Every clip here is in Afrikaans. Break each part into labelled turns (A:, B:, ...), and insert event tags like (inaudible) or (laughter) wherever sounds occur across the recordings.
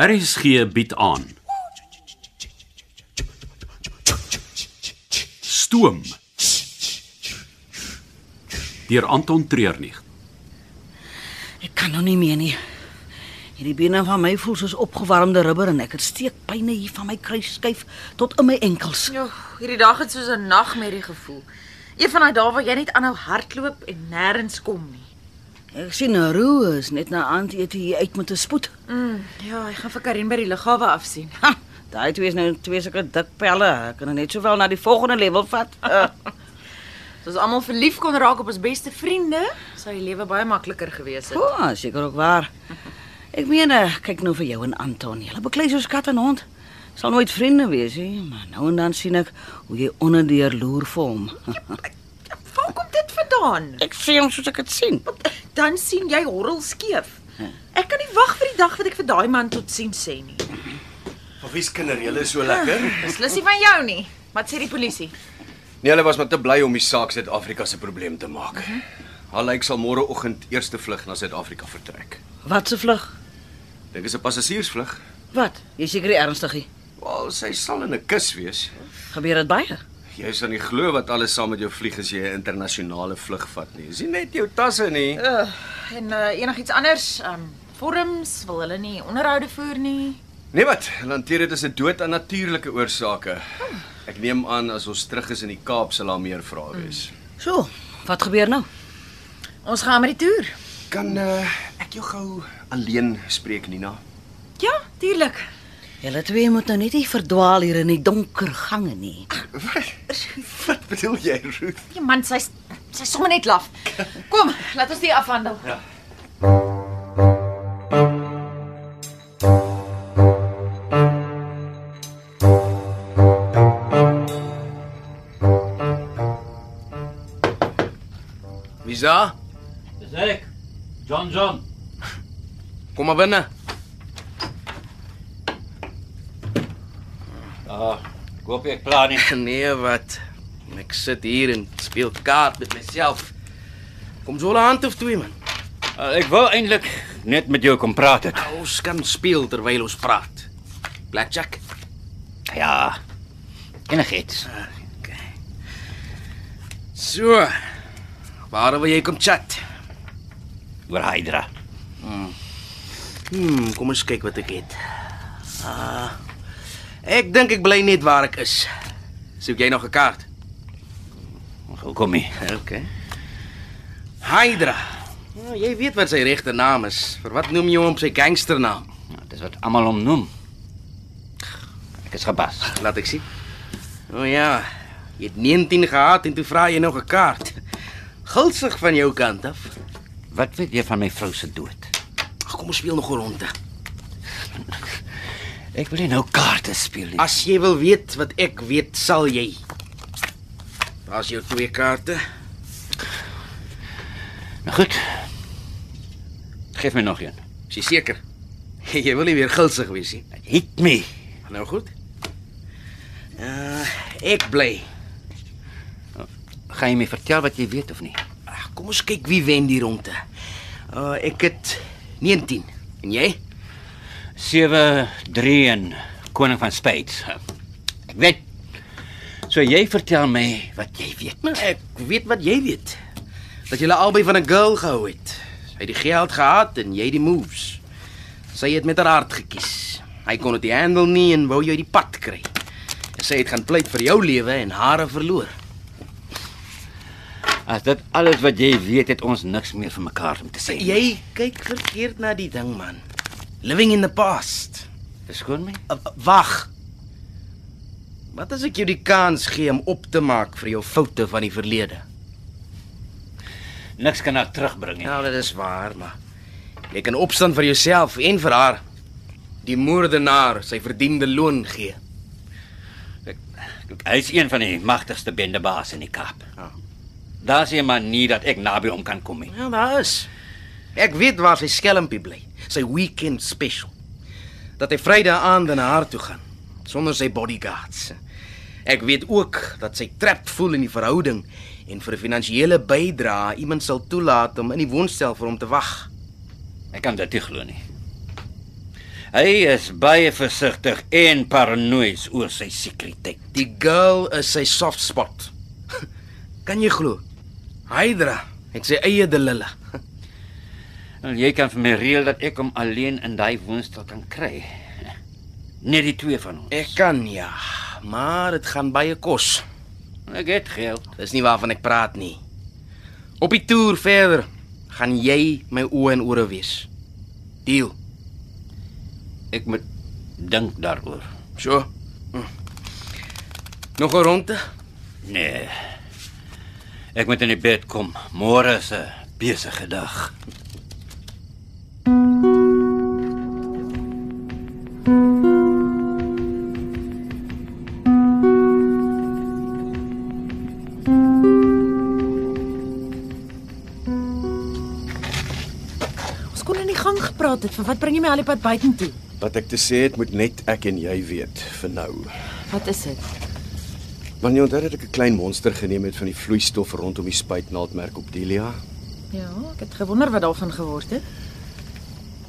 A: RSG bied aan. Stoom. Deur Anton Treurnig.
B: Ek kan nou nie meer nie. Hierdie bene van my voel soos opgewarmde rubber en ek het steekpyne hier van my kruisskyf tot in my enkels.
C: Ja, hierdie dag het soos 'n nagmerrie gevoel. Een van daai dae waar jy net aanhou hardloop en nêrens kom nie.
B: Ek sien Roo is net na aandete hier uit met 'n spoed.
C: Mm, ja, ek gaan vir Karin by die lughawe afsien.
B: Ha, daai twee is nou twee sulke dik pelle. Ek kan hulle net sowel na die volgende level vat. (laughs) Uh,
C: As ons almal verlief kon raak op ons beste vriende, sou die lewe baie makliker gewees het.
B: o, seker ook waar. Ek meen, eh, kyk nou vir jou en Anton. Julle beklei soos kat en hond. Sal nooit vriende wees nie, maar nou en dan sien ek hoe jy onder die deur loer vir hom. (laughs)
C: Ja, Waar kom dit vandaan?
B: Ek sien hom soos ek dit sien.
C: Dan sien jy horrel skeef. Ek kan nie wag vir die dag wat ek vir daai man tot sien sê nie.
D: Of wie's kinders, julle is so lekker.
C: Beslis nie van jou nie. Wat sê die polisie?
D: Nee, hulle was maar te bly om die saak Suid-Afrika se probleem te maak. Haar lyk sal môreoggend eerste vlug na Suid-Afrika vertrek.
B: Wat se vlug?
D: Dink is 'n passasiersvlug.
B: Wat? Jy seker nie ernstig nie.
D: Wel, sy sal in 'n kus wees.
B: Gebeur dit baie?
D: Jy sal nie glo wat alles saam met jou vlieg as jy 'n internasionale vlug vat nie. Dis nie net jou tasse nie.
C: Uh, en uh, enigiets anders, um vorms wil hulle nie onderhoude voer nie.
D: Nee wat, hulle hanteer dit as 'n dood aan natuurlike oorsake. Ek neem aan as ons terug is in die Kaap sal daar meer vrae wees.
B: So, wat gebeur nou?
C: Ons gaan met die toer.
D: Kan uh, ek jou gou alleen spreek, Nina?
C: Ja, tuurlik.
B: Julle twee moet nou net nie verdwaal hier in die donker gange nie.
D: Wat bedoel jy, Ruth?
C: Die man sy's sy's sommer net laf. Kom, laat ons dit afhandel. Ja.
D: Wie's daar?
E: Dis ek. John John.
D: Kom maar binne.
E: Ah, ek hoop jy klaar nie.
F: (laughs) Nee, wat? Ek sit hier en speel kaart met myself. Kom so 'n hand of twee man.
E: Uh, ek wou eintlik net met jou kom praat het.
F: Nou, Ons kan speel terwyl ons praat. Blackjack.
E: Ja. Enigiets.
F: Ah, So. Waar wil jy kom chat?
E: Oor Hydra.
F: Hmm, kom ons kyk wat ek het. Ah. Ek dink ek bly net waar ek is. Soek jy nog 'n kaart?
E: Hoekom nie?
F: OK. Hydra. Nou, jy weet wat sy regte naam is. Vir wat noem jy hom sy gangsternaam?
E: Nou, dis wat almal hom noem. Ek is gebas.
F: Laat ek sien. O oh ja, jy het 19 gehad en toe vra jy nog 'n kaart. Gulsig van jou kant af.
E: Wat weet jy van my vrou se dood?
F: Ag, kom ons speel nog 'n ronde.
E: Ek wil nie nou kaarte speel nie.
F: As jy wil weet wat ek weet, sal jy. Daar's jou twee kaarte.
E: nou goed. Geef my nog een.
F: Is jy seker? (laughs) Jy wil nie weer gulsig wees nie.
E: Hit me.
F: Nou goed. Uh, ek bly.
E: Gaan jy my vertel wat jy weet of nie?
F: Ag, kom ons kyk wie wen die ronde. Uh, ek het 19. En jy?
E: 731 koning van spades. Ek weet. So jy vertel my wat jy weet.
F: Nou, ek weet wat jy weet. Dat julle albei van 'n girl gehou het. Sy het die geld gehad en jy die moves. Sy het met haar hart gekies. Hy kon dit nie handle nie en wou jou die pad kry. En sy het gaan pleit vir jou lewe en hare verloor.
E: As dit alles wat jy weet, het ons niks meer vir mekaar om te sê. nie.
F: Jy kyk verkeerd na die ding man. Living in the past.
E: verskoon my?
F: Uh, uh, Wag. Wat as ek jou die kans gee om op te maak vir jou foute van die verlede?
E: Niks kan haar terugbring nie.
F: Ja, dit is waar, maar jy kan opstaan vir jouself en vir haar. Die moordenaar sy verdiende loon gee.
E: Hy is een van die magtigste bendebaas in die Kaap.
F: Ja.
E: Daar's 'n manier dat ek naby hom kan kom nie.
F: Ja, daar is. Ek weet waar sy skelmpie bly, sy weekend special. Dat hy Vrydag aand na haar toe gaan sonder sy bodyguards. Ek weet ook dat sy trap voel in die verhouding en vir 'n finansiële bydrae iemand sal toelaat om in die woonstel vir hom te wag.
E: Ek kan dit nie glo nie. Hy is baie versigtig en paranoïes oor sy sekuriteit.
G: Die girl is sy soft spot. (laughs) Kan jy glo? Hydra het sy eie delille.
E: Wel, jy kan vir my reël dat ek hom alleen in daai woonstel kan kry. Net die twee van ons.
G: Ek kan ja, maar dit gaan baie kos.
E: Ek het geld.
G: Dis nie waarvan ek praat nie. Op die toer verder gaan jy my oë en ore wees. Deal.
E: Ek moet dink daaroor.
G: So. Hm. Nog 'n ronde?
E: Nee. Ek moet in die bed kom. Môre is 'n besige dag.
H: Ons kon in die gang gepraat het van wat bring jy my al die pad buitentoe?
F: Wat ek te sê het, moet net ek en jy weet vir nou.
H: Wat is dit?
F: Want jy onthou dat ek 'n klein monster geneem het van die vloeistof rondom die spuitnaaldmerk op Delia.
H: Ja, ek het gewonder wat daarvan geword het.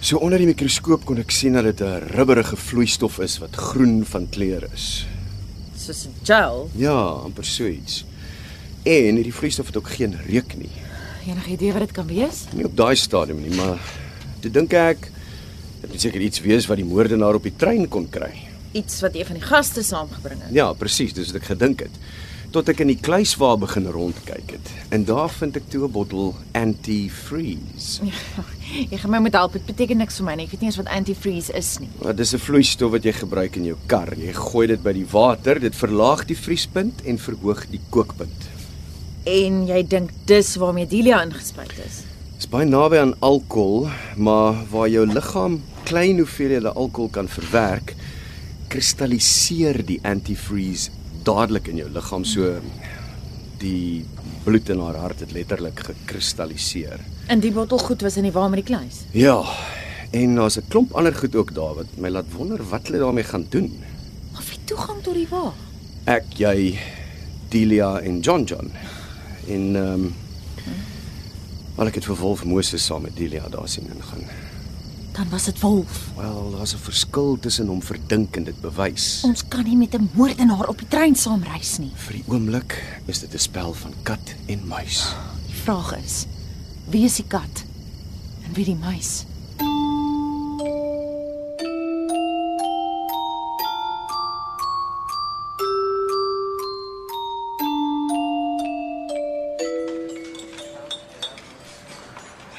F: So onder die mikroskoop kon ek sien dat dit 'n rubberige vloeistof is wat groen van kleur is.
H: Soos 'n gel.
F: Ja, amper so iets. En hierdie vloeistof het ook geen reuk nie.
H: Enige idee wat dit kan wees?
F: Nie op daai stadium nie, maar toe dink ek dit moet seker iets wees wat die moordenaar op die trein kon kry.
H: Iets wat een van die gaste saamgebring het.
F: Ja, presies, dis wat ek gedink het. Tot ek in die kluis waar begin rondkyk het. En daar vind ek toe 'n bottel antifreeze.
H: Ja, Jy gaan my moet help. Dit beteken niks vir my nie. Ek weet nie eens wat antifreeze is nie.
F: Maar dis 'n vloeistof wat jy gebruik in jou kar. Jy gooi dit by die water, dit verlaag die vriespunt en verhoog die kookpunt.
H: En jy dink dis waarmee Delia ingespuit is.
F: Dis baie naby aan alkohol, maar waar jou liggaam klein hoeveelhede alkohol kan verwerk, kristalliseer die antifreeze dadelik in jou liggaam so die bloed in haar hart het letterlik gekristalliseer.
H: In die bottel goed was in die wa met die kluis.
F: Ja, en daar's 'n klomp ander goed ook daar wat my laat wonder wat hulle daarmee gaan doen.
H: Of die toegang tot die wa.
F: Ek, jy, Delia en John John. En ehm um, wel ek het vir Wolf Moses saam met Delia daar sien ingaan.
H: Dan was dit Wolf.
F: Wel, daar's 'n verskil tussen hom verdink en dit bewys.
H: Ons kan nie met 'n moordenaar op die trein saamreis nie.
F: Vir die oomblik is dit 'n spel van kat en muis.
H: Die vraag is: wie is die kat en wie die muis?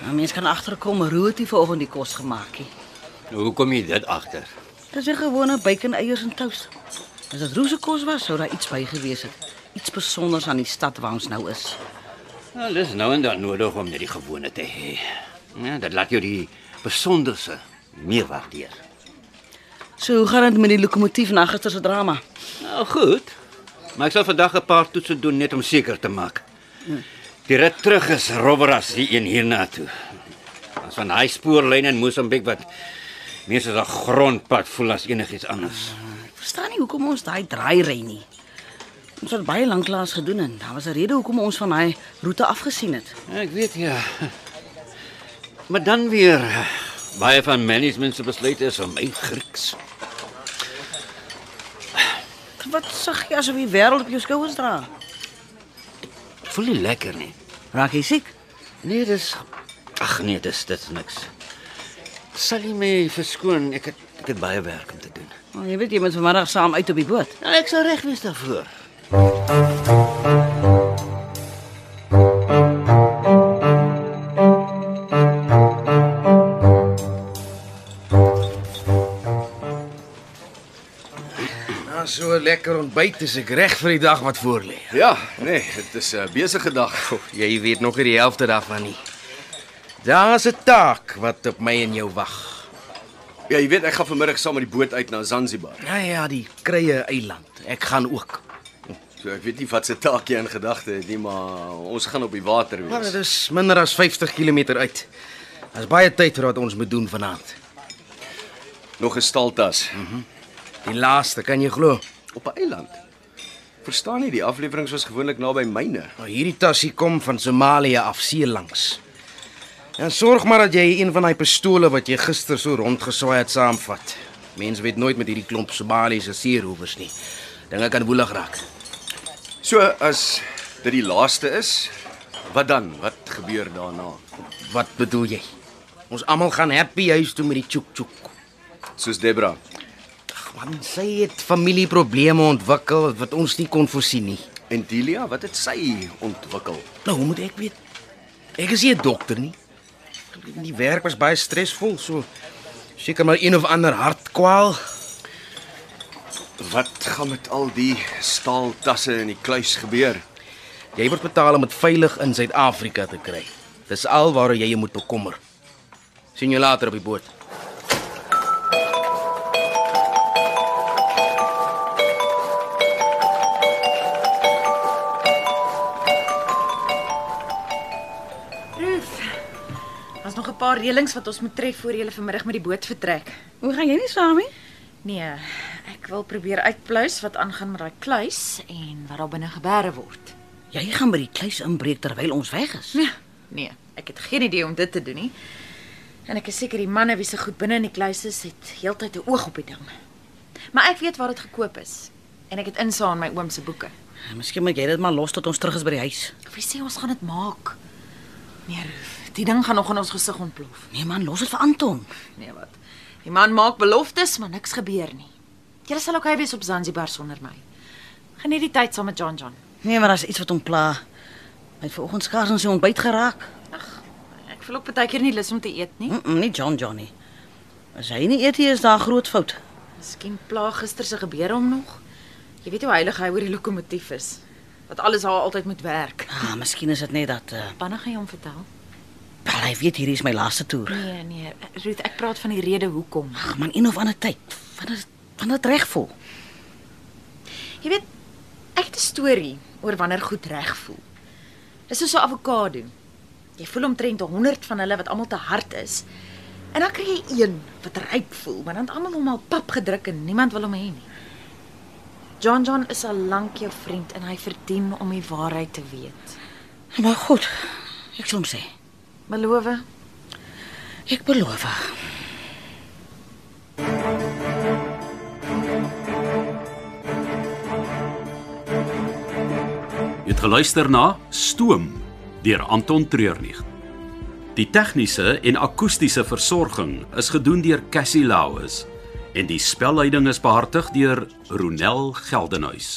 B: Nou, mens kan agterkom hoe het hy vanoggend die kos gemaak het.
E: Hoe kom jy dit agter?
B: Dis 'n gewone bacon, eiers en toast. As dit rosekos was, sou daar iets by gewees het. Iets spesiaals aan die stad waar ons nou is.
E: Wel, dis nou en dan nodig om net die gewone te hê. Ja, dit laat jou die besonderse meer waardeer.
B: So, hoe gaan dit met die lokomotief na gister se drama?
E: Nou goed. Maar ek sal vandag 'n paar toetse doen net om seker te maak. Die rit terug is robber as die een hiernatoe. As van daai spoorlyne in Mosambiek wat mense se grondpad voel as enigiets anders.
B: Ek verstaan nie hoekom ons daai draai ry nie. Ons het baie lank lank gedoen en daar was 'n rede hoekom ons van daai roete afgesien het.
E: Ek weet ja. Maar dan weer baie van management se besluit is om my Grieks.
B: Wat sag jy asof die wêreld op jou skouers dra?
E: Ek voel nie lekker nie.
B: Raak jy siek?
E: Nee, dis Ag nee, dis dit is niks. Sal jy my verskoon? Ek het ek het baie werk om te doen.
B: Nou, jy weet jy moet vanmiddag saam uit op die boot.
E: Ja, ek sal reg wees daarvoor.
G: Nou so lekker ontbyt is ek reg vir die dag wat voor lê.
F: Ja, nee, dit is 'n besige dag.
G: Goh, Jy weet nog nie die helfte daarvan nie. Daar's 'n taak wat op my en jou wag.
F: Ja, jy weet ek gaan vanmiddag saam met die boot uit na Zanzibar.
G: Nou ja, die Krye eiland. Ek gaan ook.
F: So ek weet nie wat se taak jy in gedagte het nie, maar ons gaan op die water
G: Maar dit
F: wees.
G: is minder as 50 km uit. Daar's baie tyd vir wat ons moet doen vanaand.
F: Nog 'n staltas
G: Die laaste, kan jy glo?
F: op 'n eiland. Verstaan nie, die afleweringe was gewoonlik naby myne.
G: Nou hierdie tassie kom van Somalië af see langs. En sorg maar dat jy een van daai pistole wat jy gister so rondgeswaai het saamvat. Mense weet nooit met hierdie klomp Somaliëse seerowers nie. Dinge kan woelig raak.
F: So as dit die laaste is, wat dan? Wat gebeur daarna?
G: Wat bedoel jy? Ons almal gaan happy huis toe met die tjoek tjoek.
F: Soos Debra.
G: Man, sy het familieprobleme ontwikkel wat ons nie kon voorsien nie.
F: En Delia, wat het sy ontwikkel?
G: Nou, hoe moet ek weet? Ek is nie 'n dokter nie. Die werk was baie stresvol, so seker maar een of ander hartkwaal.
F: Wat gaan met al die staaltasse in die kluis gebeur?
G: Jy word betaal om dit veilig in Suid-Afrika te kry. Dis al waaroor jy jou moet bekommer. sien jou later op die boot.
C: Proef. Daar's nog 'n paar reëlings wat ons moet tref voor jy vanmiddag met die boot vertrek.
B: Hoe gaan jy nie saam nie?
C: Nee, ek wil probeer uitpluis wat aangaan met daai kluis en wat daar binne gebeure word.
B: Jy gaan by die kluis inbreek terwyl ons weg is.
C: Nee, nee, ek het geen idee om dit te doen nie. En ek is seker die manne wie se goed binne in die kluis is, het heeltyd 'n oog op die ding. Maar ek weet waar dit gekoop is en ek het insaag in my oom se boeke.
B: Miskien moet jy dit maar los tot ons terug is by die huis.
C: Wie sê ons gaan dit maak? Nee, Roof, die ding gaan nog in ons gesig ontplof.
B: Nee man, los dit vir Anton.
C: Nee, wat? Die man maak beloftes, maar niks gebeur nie. Jy sal okay wees op Zanzibar sonder my. Geniet die tyd saam met John John.
B: Nee, maar daar's iets wat hom pla. Hy het vanoggend skaars aan sy ontbyt geraak.
C: Ag, ek voel ook baie keer nie lus om te eet nie.
B: Mm -mm, nie John Johnny. As hy nie eet hier is daar groot fout.
C: Miskien plaag gister se gebeure hom nog. Jy weet hoe heilig hy oor die lokomotief is. Dat alles haar altyd moet werk.
B: Ah, miskien is dit net dat uh,
C: Wanneer gaan jy hom vertel?
B: wel, hy weet hierdie is my laaste toer.
C: Nee, nee, Ruth, ek praat van die rede hoekom.
B: Ag man, een of ander tyd. Wanneer wanneer dit reg voel.
C: Jy weet, ek het 'n storie oor wanneer goed reg voel. Dis soos 'n avokado. Jy voel omtrent 100 van hulle wat almal te hard is. En dan kry jy een wat ryp voel, maar dan het almal hom al pap gedruk en niemand wil hom hê nie. John John is al lank jou vriend en hy verdien om die waarheid te weet.
B: Maar goed. Ek sal hom sê.
C: Beloof?
B: Ek beloof.
A: Jy het geluister na Stoom deur Anton Treurnig. Die tegniese en akoestiese versorging is gedoen deur Cassie Lauis en die spelleiding is behartig deur Ronel Geldenhuys.